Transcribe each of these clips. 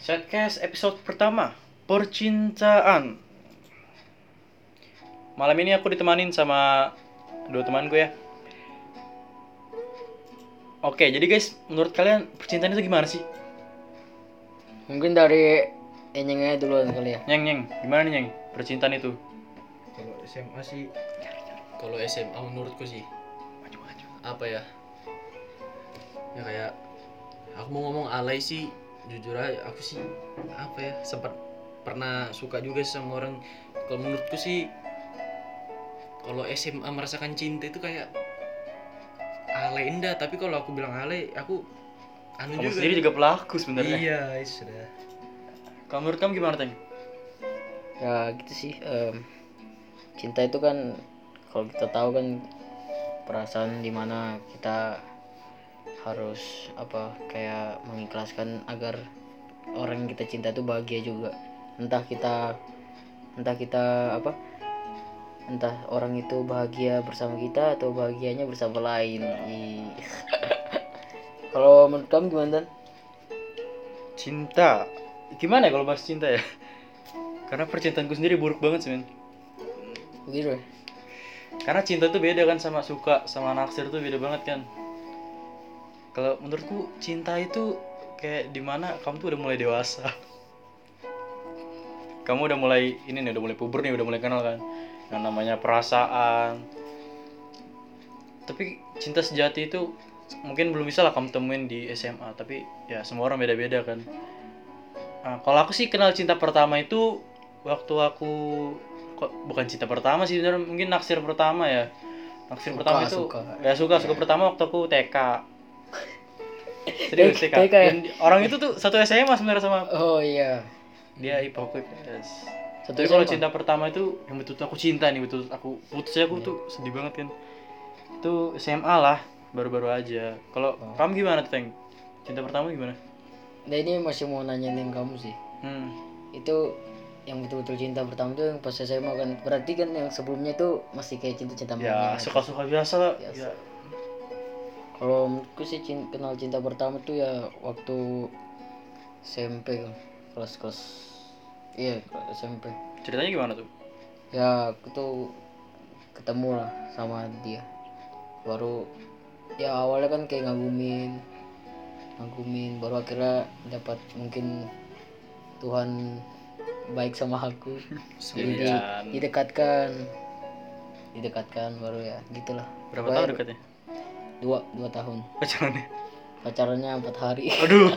Shotcast episode pertama, percintaan. Malam ini aku ditemanin sama dua teman gue ya. Oke, jadi guys, menurut kalian percintaan itu gimana sih? Mungkin dari Enyengnya duluan kali ya. Nyeng, nyeng, gimana nih nyeng? Percintaan itu? kalau SMA sih kalau SMA menurutku sih apa ya ya kayak aku mau ngomong alay sih jujur aja aku sih apa ya sempat pernah suka juga sama orang kalau menurutku sih kalau SMA merasakan cinta itu kayak alay indah tapi kalau aku bilang alay aku anu Kamu juga sendiri juga ya? pelaku sebenarnya. iya sudah Kamu menurut kamu gimana, Teng? Ya gitu sih. em, cinta itu kan kalau kita tahu kan perasaan dimana kita harus apa kayak mengikhlaskan agar orang yang kita cinta itu bahagia juga. Entah kita entah kita apa entah orang itu bahagia bersama kita atau bahagianya bersama lain. Ih. kalau menurut kamu gimana? Dan? Cinta. Gimana ya kalau bahas cinta ya? Karena percintaanku sendiri buruk banget sih, men. Gitu. ya? Karena cinta tuh beda kan sama suka sama naksir tuh beda banget kan. Kalau menurutku cinta itu kayak dimana kamu tuh udah mulai dewasa. Kamu udah mulai ini nih udah mulai puber nih udah mulai kenal kan. Yang namanya perasaan. Tapi cinta sejati itu mungkin belum bisa lah kamu temuin di SMA tapi ya semua orang beda-beda kan. Nah, kalau aku sih kenal cinta pertama itu waktu aku kok bukan cinta pertama sih sebenarnya mungkin naksir pertama ya. Naksir Suka, pertama itu suka. ya suka suka pertama waktu aku TK. Serius TK. TK ya? Dan di- orang itu tuh satu SMA sebenarnya sama aku. Oh iya. dia IPOKS. Satu Tapi kalau SMA. cinta pertama itu yang betul aku cinta nih betul aku putus aku Iya. tuh sedih banget kan. Itu SMA lah baru-baru aja. Kalau Oh. kamu gimana tuh Teng? Cinta pertama gimana? Nah ini masih mau nanyain yang kamu sih. Hmm. Itu yang betul-betul cinta pertama tuh yang pas SMA kan. Berarti kan yang sebelumnya tuh masih kayak cinta-cinta kan? Ya monyet. suka-suka biasa lah. Biasa. Ya, Kalau menurutku sih cin- kenal cinta pertama tuh ya waktu SMP kan. Kelas-kelas. Iya kelas SMP. ceritanya gimana tuh? Ya aku tuh ketemu lah sama dia. Baru ya awalnya kan kayak ngagumin ngagumin baru akhirnya dapat mungkin Tuhan baik sama Hmm. aku jadi di- Sendirian. didekatkan didekatkan baru ya gitulah Berapa Pokoknya tahun dekatnya? dua dua tahun Pacarannya? pacarannya empat hari Aduh.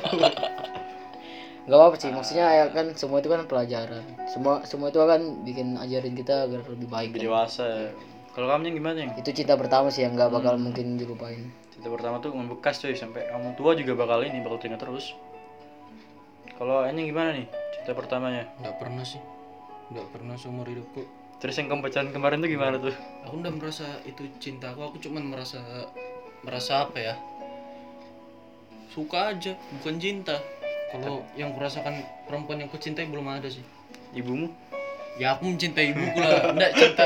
nggak apa sih maksudnya ya kan semua itu kan pelajaran semua semua itu kan bikin ajarin kita agar lebih baik Lebih kan. dewasa. ya. Kalau kamu yang gimana yang? itu cinta pertama sih yang nggak bakal mungkin dilupain Cinta pertama tuh membekas cuy sampai kamu tua juga bakal ini bakal teringat terus. Kalau Enying gimana nih cinta pertamanya? nggak pernah sih nggak pernah seumur hidupku Terus yang kamu pacaran kemarin tuh gimana tuh? aku udah merasa itu cinta aku aku cuman merasa merasa apa ya suka aja bukan cinta kalau yang kurasakan perempuan yang kucintai belum ada sih Ibumu? ya aku mencintai ibuku lah enggak cinta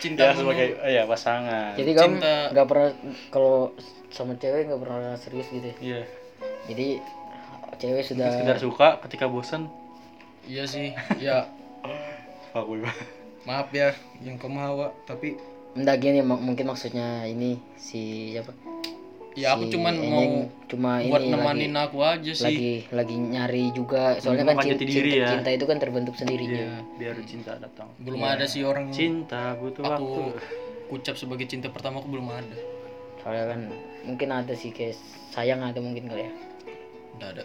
cinta Ya menurut- sebagai eh, ya pasangan. jadi kamu Cinta- nggak pernah kalau sama cewek nggak pernah serius gitu ya Iya. jadi cewek Mungkin sudah Sekedar suka ketika bosan. iya sih ya Fuck boy. maaf ya yang kamu hawa tapi Nggak gini mak- mungkin maksudnya ini si apa ya aku si cuman Eneng mau cuma buat ini lagi- nemanin aku aja sih lagi lagi nyari juga soalnya kan Menemukan cinta, jati diri cinta, ya. cinta itu kan terbentuk Iya. sendirinya Iya, Biar cinta datang. belum ada Ya. sih orang Cinta butuh waktu. aku kucap sebagai cinta pertama aku belum ada soalnya kan mungkin ada sih kayak sayang ada mungkin kali ya enggak ada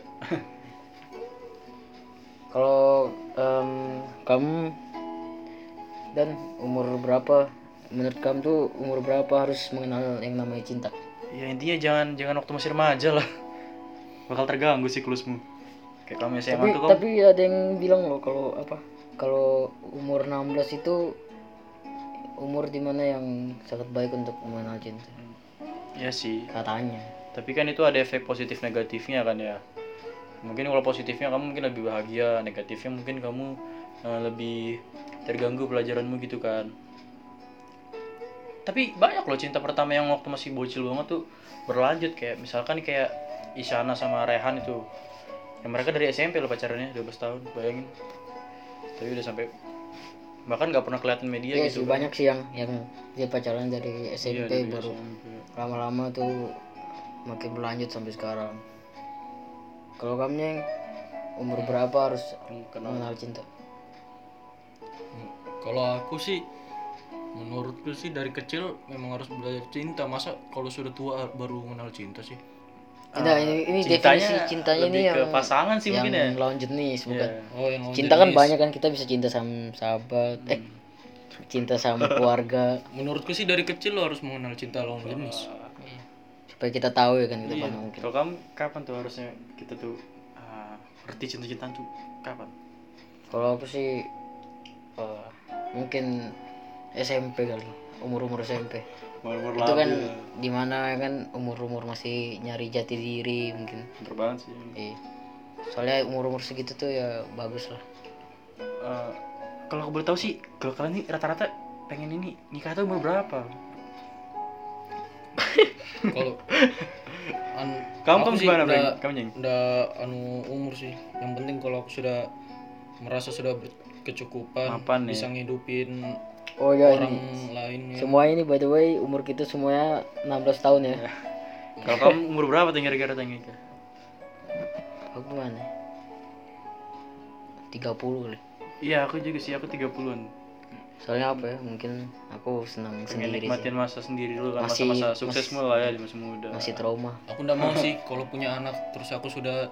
kalau em, kamu dan umur berapa menurut kamu tuh umur berapa harus mengenal yang namanya cinta Ya intinya jangan jangan waktu masih remaja lah. Bakal terganggu siklusmu. Kayak kamu SMA tapi tuh kan, kamu tapi ada yang bilang loh kalau apa kalau umur 16 itu umur dimana yang sangat baik untuk mengenal cinta ya sih. katanya Tapi kan itu ada efek positif negatifnya kan ya. Mungkin kalau positifnya kamu mungkin lebih bahagia, negatifnya mungkin kamu eh, lebih terganggu pelajaranmu gitu kan. Tapi banyak loh cinta pertama yang waktu masih bocil banget tuh berlanjut kayak misalkan kayak Isyana sama Rehan itu Ya, mereka dari SMP loh pacarannya 12 tahun, bayangin. Tapi udah sampai bahkan nggak pernah kelihatan media Iya gitu. sih banyak sih yang yang dia pacaran dari Iya, SMP dari baru SMP. lama-lama tuh makin berlanjut sampai sekarang. Kalau kamu yang umur berapa harus Kenal. mengenal cinta? Hmm, Kalau aku sih menurutku sih dari kecil memang harus belajar cinta. Masa kalau sudah tua baru mengenal cinta sih? Nah, ini, ini Ah, cintanya definisi cintanya ini lebih ke yang pasangan sih mungkin ya. yang lawan jenis bukan. Iya. Oh, yang lawan Cinta kan jenis. banyak kan kita bisa cinta sama sahabat, eh cinta sama keluarga Menurutku sih dari kecil lo harus mengenal cinta lawan jenis. Ya. supaya kita tahu ya kan kita paham mungkin. Kalau kamu kapan tuh harusnya kita tuh ah, ngerti cinta-cintaan tuh kapan? Kalau aku sih eh, mungkin SMP kali, umur-umur SMP. Umur-umur Itu kan labil. dimana kan umur-umur masih nyari jati diri mungkin. Pinter banget sih. Iya. Soalnya umur-umur segitu tuh ya bagus lah. Eh, kalau aku boleh tahu sih, kalau kalian nih rata-rata pengen ini nikah tuh umur berapa? Kalau an- Kamu aku kamu sih gimana, udah- Breng? Kamu nyeng? udah anu umur sih. Yang penting kalau aku sudah merasa sudah berkecukupan Mapan ya. bisa ngidupin Oh ya orang ini. lain ya. Semua ini by the way umur kita semuanya 16 tahun ya. Kalau kamu umur berapa tuh kira-kira pengen nikah? Aku gimana? 30 kali. Iya, aku juga sih, aku 30-an. Soalnya apa ya? Mungkin aku senang Pengen sendiri sih. nikmatin masa sendiri dulu kan, Masih- masa-masa suksesmu masih- lah ya di masa muda. Masih trauma. Aku ndak mau sih kalau punya anak terus aku sudah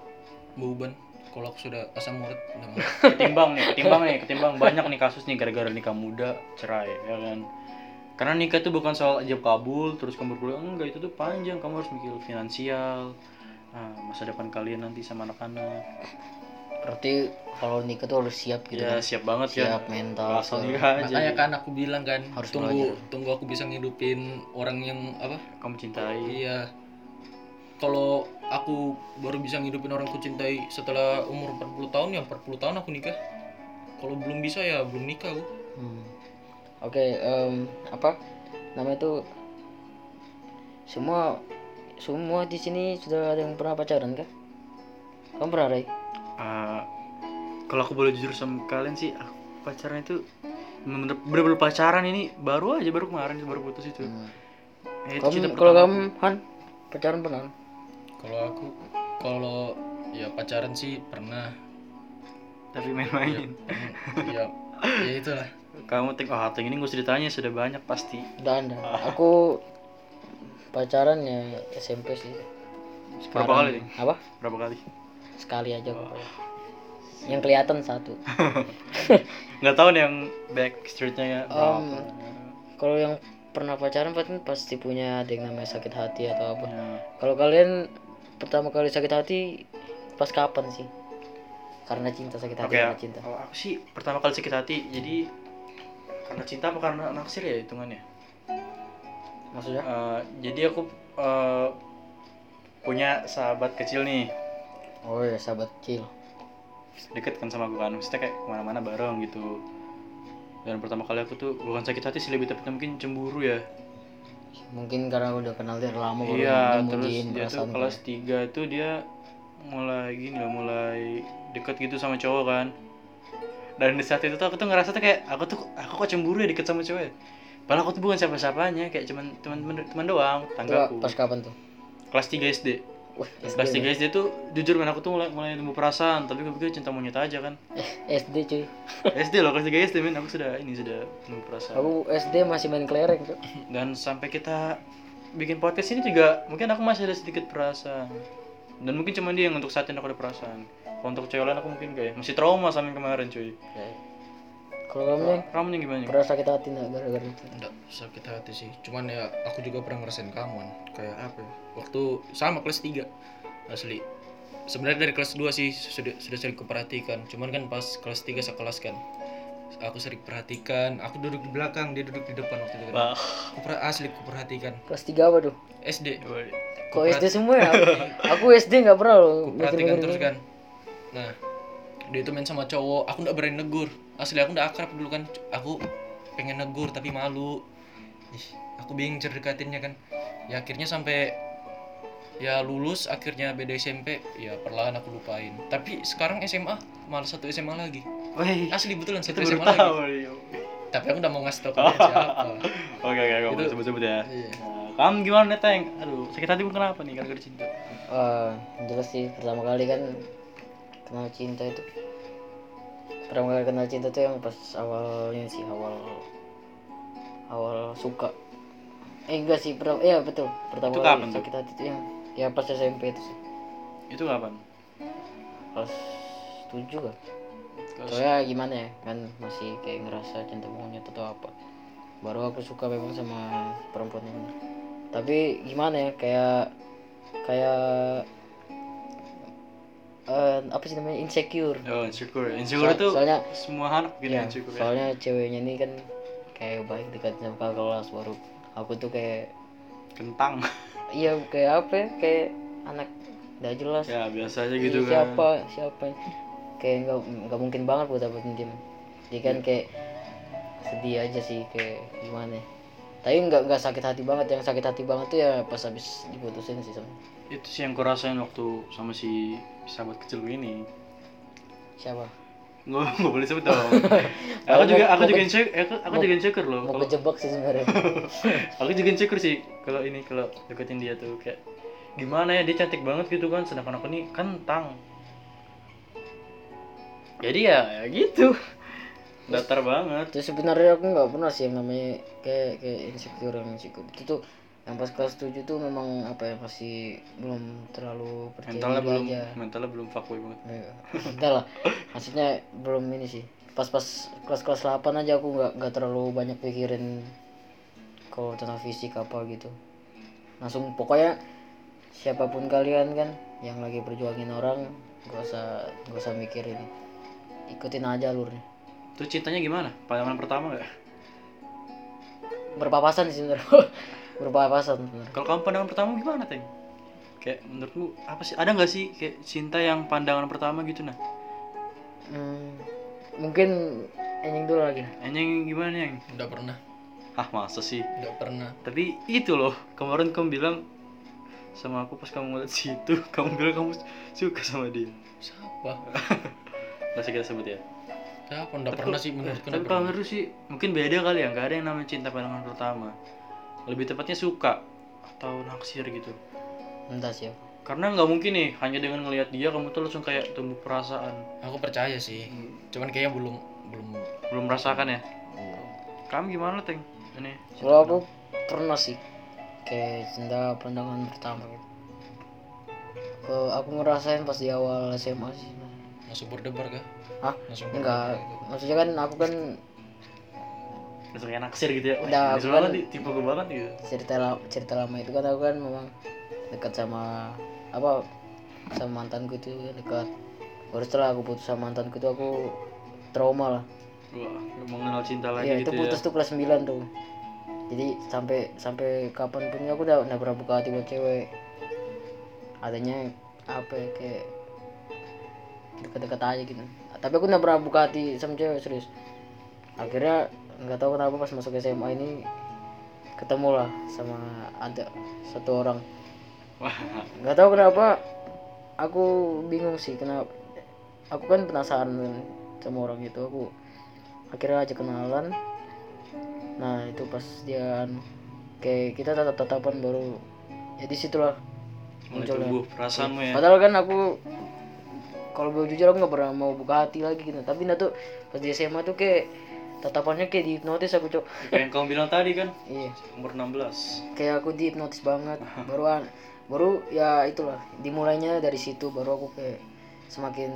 beban. Kalau aku sudah asam urat ndak mau. ketimbang nih, ketimbang nih, ketimbang banyak nih kasus nih gara-gara nikah muda cerai ya kan. Karena nikah itu bukan soal ajab kabul terus kamu berkuliah enggak itu tuh panjang kamu harus mikir finansial ah, masa depan kalian nanti sama anak-anak Berarti kalau nikah tuh harus siap gitu ya kan. siap banget ya Siap mental. asal segala- nikah aja Makanya kan aku bilang kan Harus tunggu tunggu aku bisa ngidupin orang yang apa? kamu cintai Iya. Kalau aku baru bisa ngidupin orang ku cintai setelah umur 40 tahun ya 40 tahun aku nikah. Kalau belum bisa ya belum nikah aku. Hmm. Oke, em, apa namanya itu semua semua di sini sudah ada yang pernah pacaran kah? Kamu pernah Ray? Ah, kalau aku boleh jujur sama kalian sih aku pacaran itu bener- bener-bener pacaran ini baru aja baru kemarin baru putus itu Ya, itu cinta Hmm. Kamu, kalau pertama kamu Han pacaran pernah? Kalau aku kalau ya pacaran sih pernah. tapi main-main ya ya itulah. kamu tengok oh, Ateng ini gak usah ditanya sudah banyak pasti Udah anda. Ah. Aku pacaran ya SMP sih. berapa Sekarang- kali Ting? Apa? berapa kali Sekali aja. pokoknya. Yang kelihatan satu. nggak tahu nih yang backstreetnya ya Om. berapa Kalau yang pernah pacaran pasti pasti punya ada yang namanya sakit hati atau apa. Ya, Kalau kalian pertama kali sakit hati pas kapan sih? Karena cinta sakit hati oke ya karena cinta. kalau aku sih pertama kali sakit hati jadi karena cinta apa karena naksir ya hitungannya Maksudnya? Eh, jadi aku eh, punya sahabat kecil nih Oh ya sahabat kecil. deket kan sama gue kan maksudnya kayak kemana-mana bareng gitu dan pertama kali aku tuh bukan sakit hati sih lebih tepatnya mungkin cemburu ya Mungkin karena udah kenal dari lama baru Iya, terus nyemunyin dia tuh perasaan kelas kalian. 3 itu dia mulai gini loh, mulai deket gitu sama cowok kan. Dan di saat itu tuh aku tuh ngerasa tuh kayak aku tuh aku kok cemburu ya deket sama cowok. ya? Padahal aku tuh bukan siapa-siapanya, kayak cuman teman teman doang, Itu tanggaku. pas ya? kapan tuh? Kelas 3 SD. Wah, SD, Kelas 3 nih. SD tuh jujur kan aku tuh mulai mulai tumbuh perasaan, tapi gue pikir cinta monyet aja kan. SD cuy. SD loh, kelas 3 SD men, aku sudah ini sudah tumbuh perasaan. Aku SD masih main kelereng tuh. dan sampai kita bikin podcast ini juga mungkin aku masih ada sedikit perasaan dan mungkin cuma dia yang untuk saat ini aku ada perasaan Kalau untuk cewek lain aku mungkin kayak masih trauma sama yang kemarin cuy Kalau kamu yang kamu nih gimana pernah sakit hati nggak gara-gara itu? Nggak sakit hati sih. Cuman ya aku juga pernah ngerasain kamu kan. Kayak apa ya? Waktu sama kelas 3 asli. Sebenarnya dari kelas 2 sih sudah sudah sering kuperhatikan. Cuman kan pas kelas 3 sekelas kan. Aku sering perhatikan, aku duduk di belakang, dia duduk di depan waktu itu. Kan. Wah, Aku per- asli kuperhatikan. Kelas 3 apa tuh? SD Kok SD semua ya? Aku SD nggak pernah loh. perhatikan mikir-mikir terus gitu. kan. Nah, dia itu main sama cowok, aku nggak berani negur. Asli aku nggak akrab dulu kan. Aku pengen negur tapi malu. Ih, aku bingung cara dekatinnya kan. Ya akhirnya sampai ya lulus akhirnya beda SMP ya perlahan aku lupain tapi sekarang SMA malah satu SMA lagi Wih, asli betulan itu satu baru SMA tahu. Ah, lagi nih. tapi aku udah mau ngasih tau kalian siapa Oke oke oke, Itu- sebut-sebut ya. Nah, Iya. Kamu gimana nih Teng? Aduh, sakit hati pun kenapa nih gara-gara cinta? Eh, jelas sih pertama kali kan kenal cinta itu pertama kali kenal cinta tuh yang pas awalnya sih awal awal suka eh enggak sih pertama iya betul pertama Itu kapan kali tuh? sakit hati tuh yang ya pas SMP itu sih Itu kapan? pas tujuh kan Kelas- soalnya gimana ya kan masih kayak ngerasa cinta monyet atau apa baru aku suka memang sama perempuan ini tapi gimana ya kayak kayak eh, apa sih namanya insecure Oh, insecure. Insecure So- itu soalnya semua anak gitu ya, insecure. ya. soalnya ceweknya ini kan kayak baik dekat sama kakak kelas baru aku tuh kayak Kentang. iya kayak apa ya kayak anak nggak jelas Ya, biasa aja Iya, gitu kan. siapa siapa kayak nggak nggak mungkin banget buat dapetin dia dia kan Iya. kayak sedih aja sih kayak gimana ya. tapi nggak nggak sakit hati banget yang sakit hati banget tuh ya pas habis diputusin sih sama Itu sih yang kurasain waktu sama si sahabat kecil gue ini. siapa Nggak, nggak boleh sebut dong. aku juga aku Mau- juga insecure, aku, aku juga insecure loh. mau Kalau kejebak sih sebenarnya aku juga insecure sih kalau ini kalau deketin dia tuh kayak gimana ya dia cantik banget gitu kan sedangkan aku nih kentang jadi ya, ya gitu datar banget terus sebenarnya aku nggak pernah sih yang namanya kayak kayak insecure yang insecure itu tuh yang pas kelas 7 tuh memang apa ya masih belum terlalu percaya mentalnya diri belum gitu aja. mentalnya belum fuckboy banget Ya, Udah lah, maksudnya belum ini sih. Pas-pas kelas-kelas 8 aja aku nggak nggak terlalu banyak pikirin kalau tentang fisik apa gitu. Langsung pokoknya siapapun kalian kan yang lagi berjuangin orang gak usah gak usah mikirin ikutin aja alurnya terus cintanya gimana pandangan pertama gak berpapasan sih sebenarnya berpapasan sebenarnya kalau kamu pandangan pertama gimana teng kayak menurutmu apa sih ada nggak sih kayak cinta yang pandangan pertama gitu nah hmm, mungkin anjing dulu lagi anjing gimana yang udah pernah ah masa sih udah pernah tapi itu loh kemarin kamu bilang sama aku pas kamu ngeliat situ kamu bilang kamu suka sama dia siapa nggak usah kita sebut ya siapa udah Tapi pernah kok- sih menurutku tapi udah kalau pernah. menurut sih mungkin beda kali ya nggak ada yang namanya cinta pandangan pertama lebih tepatnya suka atau naksir gitu entah siapa karena nggak mungkin nih hanya dengan ngelihat dia kamu tuh langsung kayak tumbuh perasaan Hmm, aku percaya sih cuman kayaknya belum belum belum merasakan ya kamu gimana teng ini cinta Kalau aku pernah sih kayak cinta pandangan pertama gitu. Ke aku ngerasain pas di awal SMA sih. langsung berdebar kah Hah? langsung Enggak, gitu. maksudnya kan aku kan pertama. langsung kayak naksir gitu ya Wah, Udah, ini bukan- banget nih, tipe gue banget gitu cerita la- cerita lama itu kan aku kan memang dekat sama apa sama mantanku itu kan dekat. Baru setelah aku putus sama mantanku itu aku trauma lah. wah mengenal cinta lagi Iya, itu gitu ya putus tuh kelas 9 tuh. Jadi sampai sampai kapan pun aku udah udah pernah buka hati buat cewek. Adanya apa ya kayak dekat-dekat aja gitu. Tapi aku udah pernah buka hati sama cewek serius. Akhirnya nggak tahu kenapa pas masuk SMA ini ketemu lah sama ada satu orang. wah Nggak tahu kenapa aku bingung sih kenapa. Aku kan penasaran kan sama orang itu aku akhirnya aja kenalan nah itu pas dia anu, kayak kita tatap tatapan baru ya disitulah mulai Muncul ya. tumbuh perasaanmu ya padahal kan aku kalau boleh jujur aku nggak pernah mau buka hati lagi gitu tapi nah tuh pas di SMA tuh kayak tatapannya kayak dihipnotis aku cok kayak yang kamu bilang tadi kan iya umur 16 kayak aku dihipnotis banget baru an- baru ya itulah dimulainya dari situ baru aku kayak semakin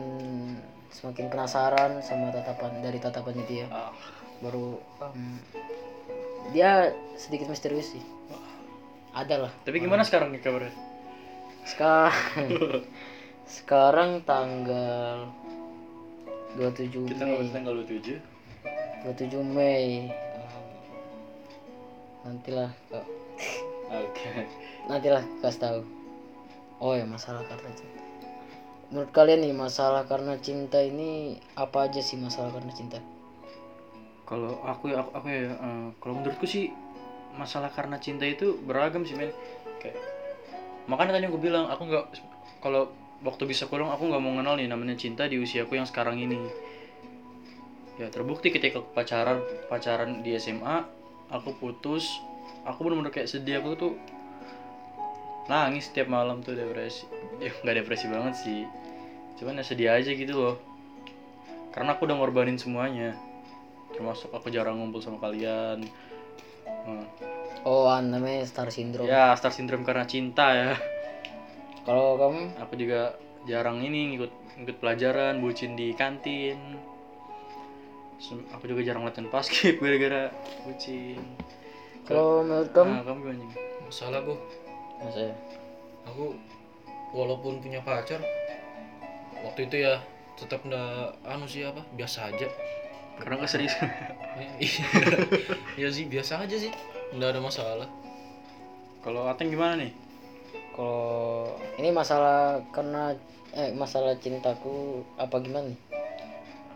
semakin penasaran sama tatapan dari tatapannya dia ah baru em, dia sedikit misterius sih Ah. ada lah tapi gimana sekarang nih kabarnya sekarang sekarang tanggal 27 kita Mei nggak tanggal 27 27 Mei Em, nantilah Ah. Kak. oke nantilah kasih tahu oh ya masalah karena cinta menurut kalian nih masalah karena cinta ini apa aja sih masalah karena cinta kalau aku ya aku, aku ya eh, kalau menurutku sih masalah karena cinta itu beragam sih men kayak makanya tadi gue bilang aku nggak kalau waktu bisa kurang aku nggak mau kenal nih namanya cinta di usiaku yang sekarang ini ya terbukti ketika aku pacaran pacaran di SMA aku putus aku bener-bener kayak sedih aku tuh nangis setiap malam tuh depresi ya nggak depresi banget sih cuman ya sedih aja gitu loh karena aku udah ngorbanin semuanya termasuk aku jarang ngumpul sama kalian Hmm. Oh, ah, namanya star syndrome. ya star syndrome karena cinta ya Kalau kamu aku juga jarang ini ngikut ngikut pelajaran bucin di kantin Sem- aku juga jarang latihan paskib gara-gara bucin kalau menurut kamu nah, kamu gimana Jeng? Masalah gue, Masa ya? aku walaupun punya pacar, waktu itu ya tetap ndak anu sih apa biasa aja. karena nggak serius Iya sih biasa aja sih, ndak ada masalah. kalau Ateng gimana nih Kalau ini masalah karena eh masalah cintaku apa gimana nih?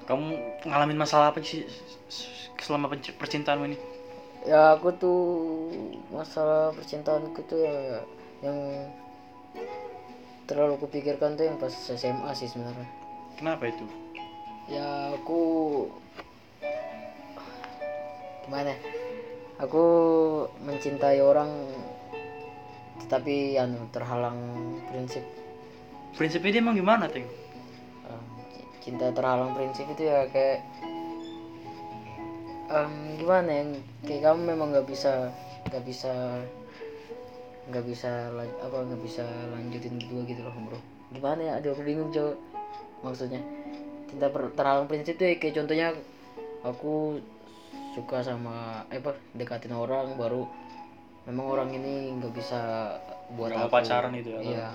kamu ngalamin masalah apa sih s- s- selama penci- percintaanmu ini Ya aku tuh masalah percintaanku tuh ya yang terlalu kupikirkan tuh yang pas SMA sih sebenarnya. kenapa itu Ya aku gimana? Aku mencintai orang tetapi anu terhalang prinsip prinsipnya dia emang gimana Teng Um, c- cinta terhalang prinsip itu ya kayak um, gimana ya kayak kamu memang nggak bisa nggak bisa nggak bisa lan- apa nggak bisa lanjutin berdua gitu loh bro gimana ya aduh aku bingung cowok maksudnya cinta per- terhalang prinsip tuh ya kayak contohnya aku suka sama eh apa dekatin orang baru memang orang ini nggak bisa buat Nggak mau aku. pacaran gitu ya, atau- iya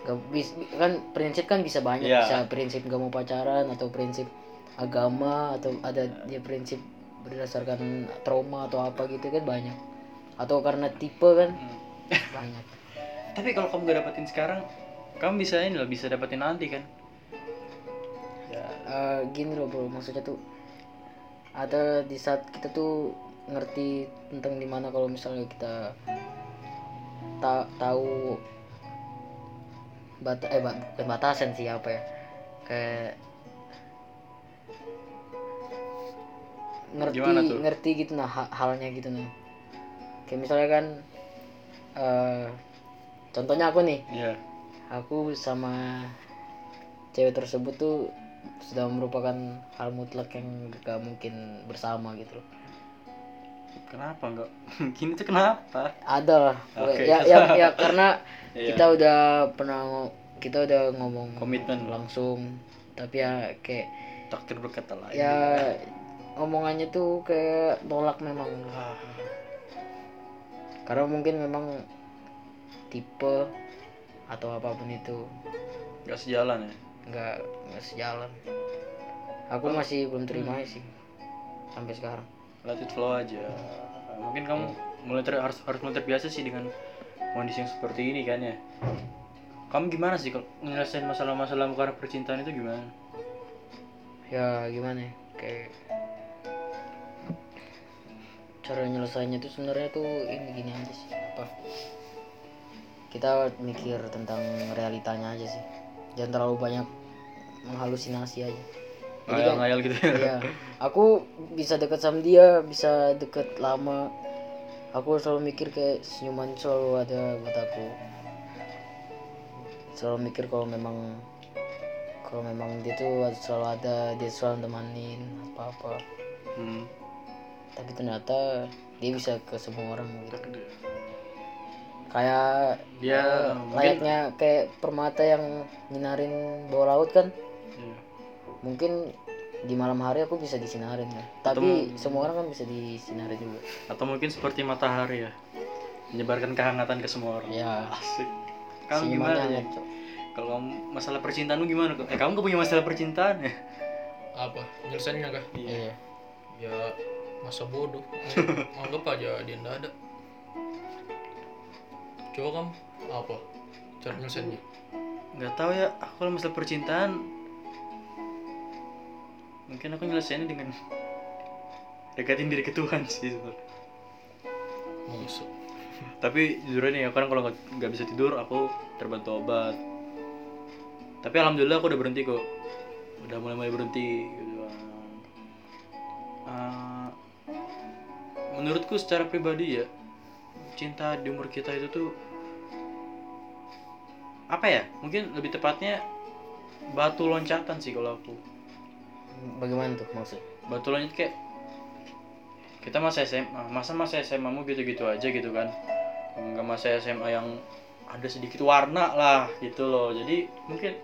Gak bis- kan prinsip kan bisa banyak Iya. bisa prinsip gak mau pacaran atau prinsip agama atau ada dia prinsip berdasarkan trauma atau apa gitu kan banyak atau karena tipe kan banyak tapi kalau kamu gak dapetin sekarang kamu bisa ini loh bisa dapetin nanti kan ya Eh, gini loh bro maksudnya tuh ada di saat kita tuh ngerti tentang dimana kalau misalnya kita ta tahu bat eh ba- bukan batasan sih apa ya kayak ngerti Gimana tuh? ngerti gitu nah ha- halnya gitu nah kayak misalnya kan eh contohnya aku nih ya aku sama cewek tersebut tuh sudah merupakan hal mutlak yang gak mungkin bersama gitu loh. kenapa nggak mungkin itu kenapa Ada lah. Oke. Ya, ya, ya, karena Iya. kita udah pernah ngo- kita udah ngomong Komitmen. langsung tapi ya kayak takdir berkata lain ya omongannya tuh kayak nolak memang Ah, karena mungkin memang tipe atau apapun itu nggak sejalan ya nggak nggak sejalan aku masih belum terima sih sampai sekarang let it flow aja mungkin kamu mulai ter- harus harus mulai terbiasa sih dengan kondisi yang seperti ini kan ya kamu gimana sih kalau nyelesain masalah-masalah karena percintaan itu gimana ya gimana ya kayak cara nyelesainnya tuh sebenarnya tuh ini gini aja sih apa kita mikir tentang realitanya aja sih jangan terlalu banyak menghalusinasi aja Jadi kan- ngayal-ngayal gitu ya Iya, aku bisa deket sama dia, bisa deket lama. Aku selalu mikir kayak senyuman selalu ada buat aku. Selalu mikir kalau memang kalau memang dia tuh selalu ada, dia selalu temanin apa-apa. Hmm. Tapi ternyata dia bisa ke semua orang gitu. Kayak dia eh, Ya, Iya, mungkin layaknya kayak permata yang nyinarin bawah laut kan. Iya. Mungkin di malam hari aku bisa disinarin kan. Tapi semua orang kan bisa disinarin juga. atau mungkin seperti matahari ya menyebarkan kehangatan ke semua orang Ya, asik kamu gimana kan? ya kalau kamu- masalah percintaanmu gimana kok eh kamu gak punya masalah percintaan ya Apa? Nyelesainnya kah? Iya. Ya masa bodoh. Anggap aja dia ndak ada. Coba kamu apa? Cara nyelesainnya? nggak tahu ya aku kalau masalah percintaan mungkin aku nyelesainnya dengan dekatin diri ke Tuhan sih sebenarnya. Masuk. tapi jujur aja nih ya kadang kalau nggak- nggak bisa tidur aku terbantu obat tapi alhamdulillah aku udah berhenti kok udah mulai mulai berhenti gitu kan. Ah, menurutku secara pribadi ya cinta di umur kita itu tuh apa ya mungkin lebih tepatnya batu loncatan sih kalau aku Bagaimana tuh maksud? batu loncatan kayak kita masa SMA masa masa SMA mu gitu-gitu aja gitu kan nggak masa SMA yang ada sedikit warna lah gitu loh jadi mungkin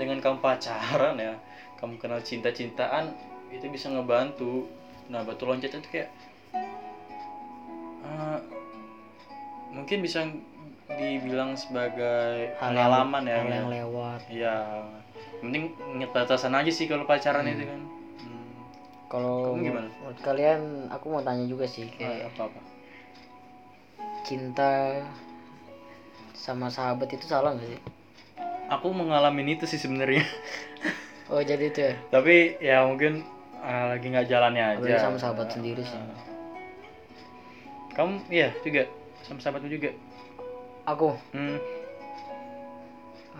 dengan kamu pacaran ya kamu kenal cinta-cintaan itu bisa ngebantu nah batu loncatan itu kayak eh, mungkin bisa dibilang sebagai yang- pengalaman ya hal ya. yang lewat. Ya, yang penting inget batasan aja sih kalau pacaran Hmm. itu kan. Hmm. Kalau Kamu gimana? Iya. menurut kalian, aku mau tanya juga sih, kayak apa apa. cinta sama sahabat itu salah nggak sih? Aku mengalami itu sih sebenarnya. Oh jadi itu ya? Tapi ya mungkin ah, lagi nggak jalannya aja. Apalagi sama sahabat sendiri sih. Ah. Kamu iya juga sama sahabatmu juga. Aku, Hmm,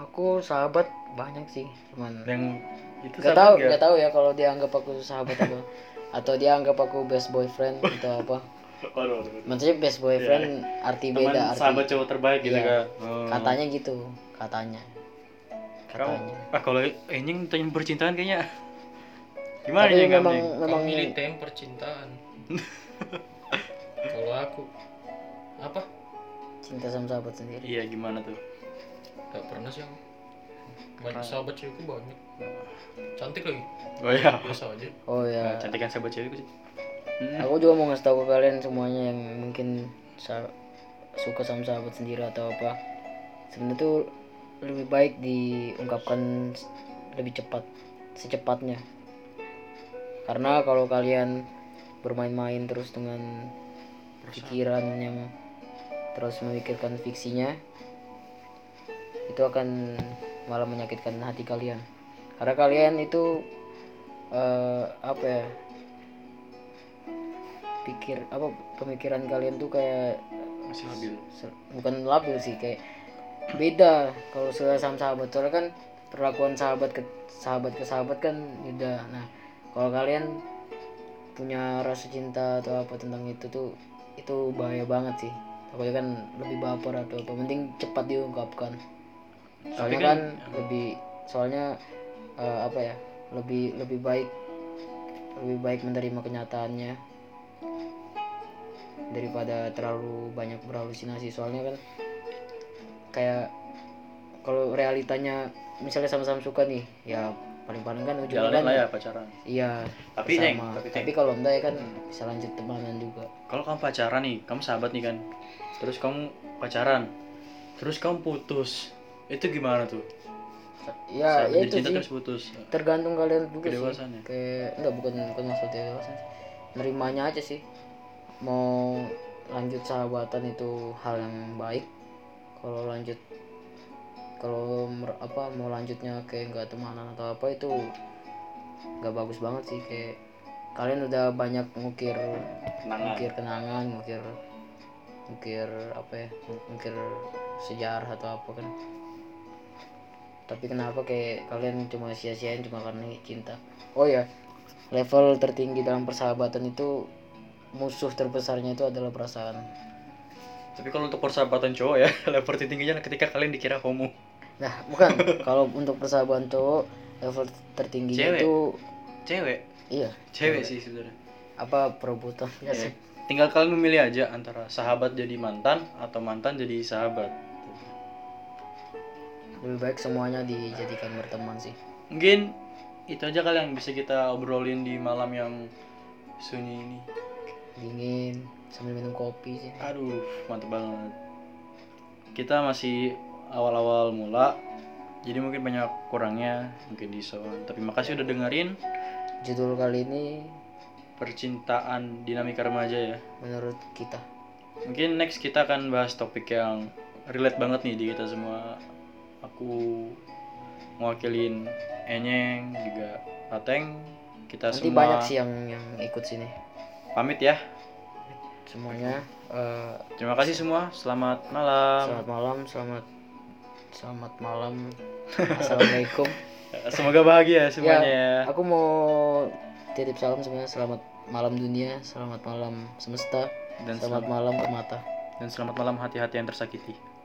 aku sahabat banyak sih, cuman yang itu sahabat nggak tahu, nggak? nggak tahu ya kalau dia anggap aku sahabat apa, atau dia anggap aku best boyfriend atau apa? Waduh, waduh, waduh. Maksudnya best boyfriend Iya. arti Teman beda, arti sahabat cowok terbaik gitu Iya. kan. Oh. katanya gitu, katanya, Kamu, katanya. ah kalau anjing tanya percintaan kayaknya gimana Tapi ya memang kamu? memang Kamu milih tem percintaan. Kalau aku apa? cinta sama sahabat sendiri. Iya gimana tuh? Gak pernah sih aku. Banyak Keren. sahabat cewekku banyak. Cantik lagi. Oh ya. Biasa aja. Oh Nah, ya. cantikan sahabat cewekku sih. Hmm. Aku juga mau ngasih tahu ke kalian semuanya yang mungkin sa- suka sama sahabat sendiri atau apa. Sebenarnya tuh lebih baik diungkapkan s- lebih cepat, secepatnya. Karena kalau kalian bermain-main terus dengan pikiran yang terus memikirkan fiksinya, itu akan malah menyakitkan hati kalian. Karena kalian itu eh, apa ya? pikir apa pemikiran kalian tuh kayak Masih labil. se- bukan labil sih kayak beda kalau sudah sama sahabat soalnya kan perlakuan sahabat ke sahabat ke sahabat kan beda nah kalau kalian punya rasa cinta atau apa tentang itu tuh itu bahaya banget sih takutnya kan lebih baper atau apa penting cepat diungkapkan soalnya kan, kan- lebih soalnya eh, apa ya lebih lebih baik lebih baik menerima kenyataannya daripada terlalu banyak berhalusinasi soalnya kan kayak kalau realitanya misalnya sama-sama suka nih ya paling-paling kan ujungnya Jalanin kan lah ya pacaran. iya Tapi, Neng, sama. tapi, tapi, Neng. kalau enggak ya kan bisa lanjut temanan juga Kalau kamu pacaran nih, kamu sahabat nih kan. Terus kamu pacaran. Terus kamu putus. Itu gimana tuh? ya Sahabat ya jadi itu cinta sih terus putus. tergantung kalian juga Kedewasaan ya? sih kayak enggak bukan bukan maksud dewasa sih nerimanya aja sih mau lanjut sahabatan itu hal yang baik kalau lanjut kalau mer- apa mau lanjutnya kayak nggak temanan atau apa itu nggak bagus banget sih kayak kalian udah banyak ngukir Kenangan. ngukir kenangan ngukir ngukir apa ya ngukir sejarah atau apa kan tapi kenapa kayak kalian cuma sia-siain cuma karena cinta oh iya. ya level tertinggi dalam persahabatan itu musuh terbesarnya itu adalah perasaan Tapi kalau untuk persahabatan cowok ya, level tertingginya ketika kalian dikira homo. nah bukan kalau untuk persahabatan cowok level tertingginya Cewek. itu Cewek, iya cewek sih sebenarnya. apa perebutan ya Iya. sih Tinggal kalian memilih aja antara sahabat jadi mantan atau mantan jadi sahabat. lebih baik semuanya dijadikan berteman sih Mungkin itu aja kali yang bisa kita obrolin di malam yang sunyi ini. dingin sambil minum kopi sih Aduh, mantep banget. Kita masih awal-awal mula, jadi mungkin banyak kurangnya, mungkin di sound. Tapi makasih udah dengerin judul kali ini percintaan dinamika remaja ya. menurut kita Mungkin next kita akan bahas topik yang relate banget nih di kita semua. Aku mewakilin Enyeng juga Ateng. Kita nanti semua banyak sih yang yang ikut sini pamit ya. semuanya eh, Terima kasih semua. Selamat malam. selamat malam selamat selamat malam assalamualaikum Semoga bahagia semuanya ya. aku mau titip salam semuanya selamat malam dunia selamat malam semesta Dan selamat, selamat malam permata dan selamat malam hati-hati yang tersakiti.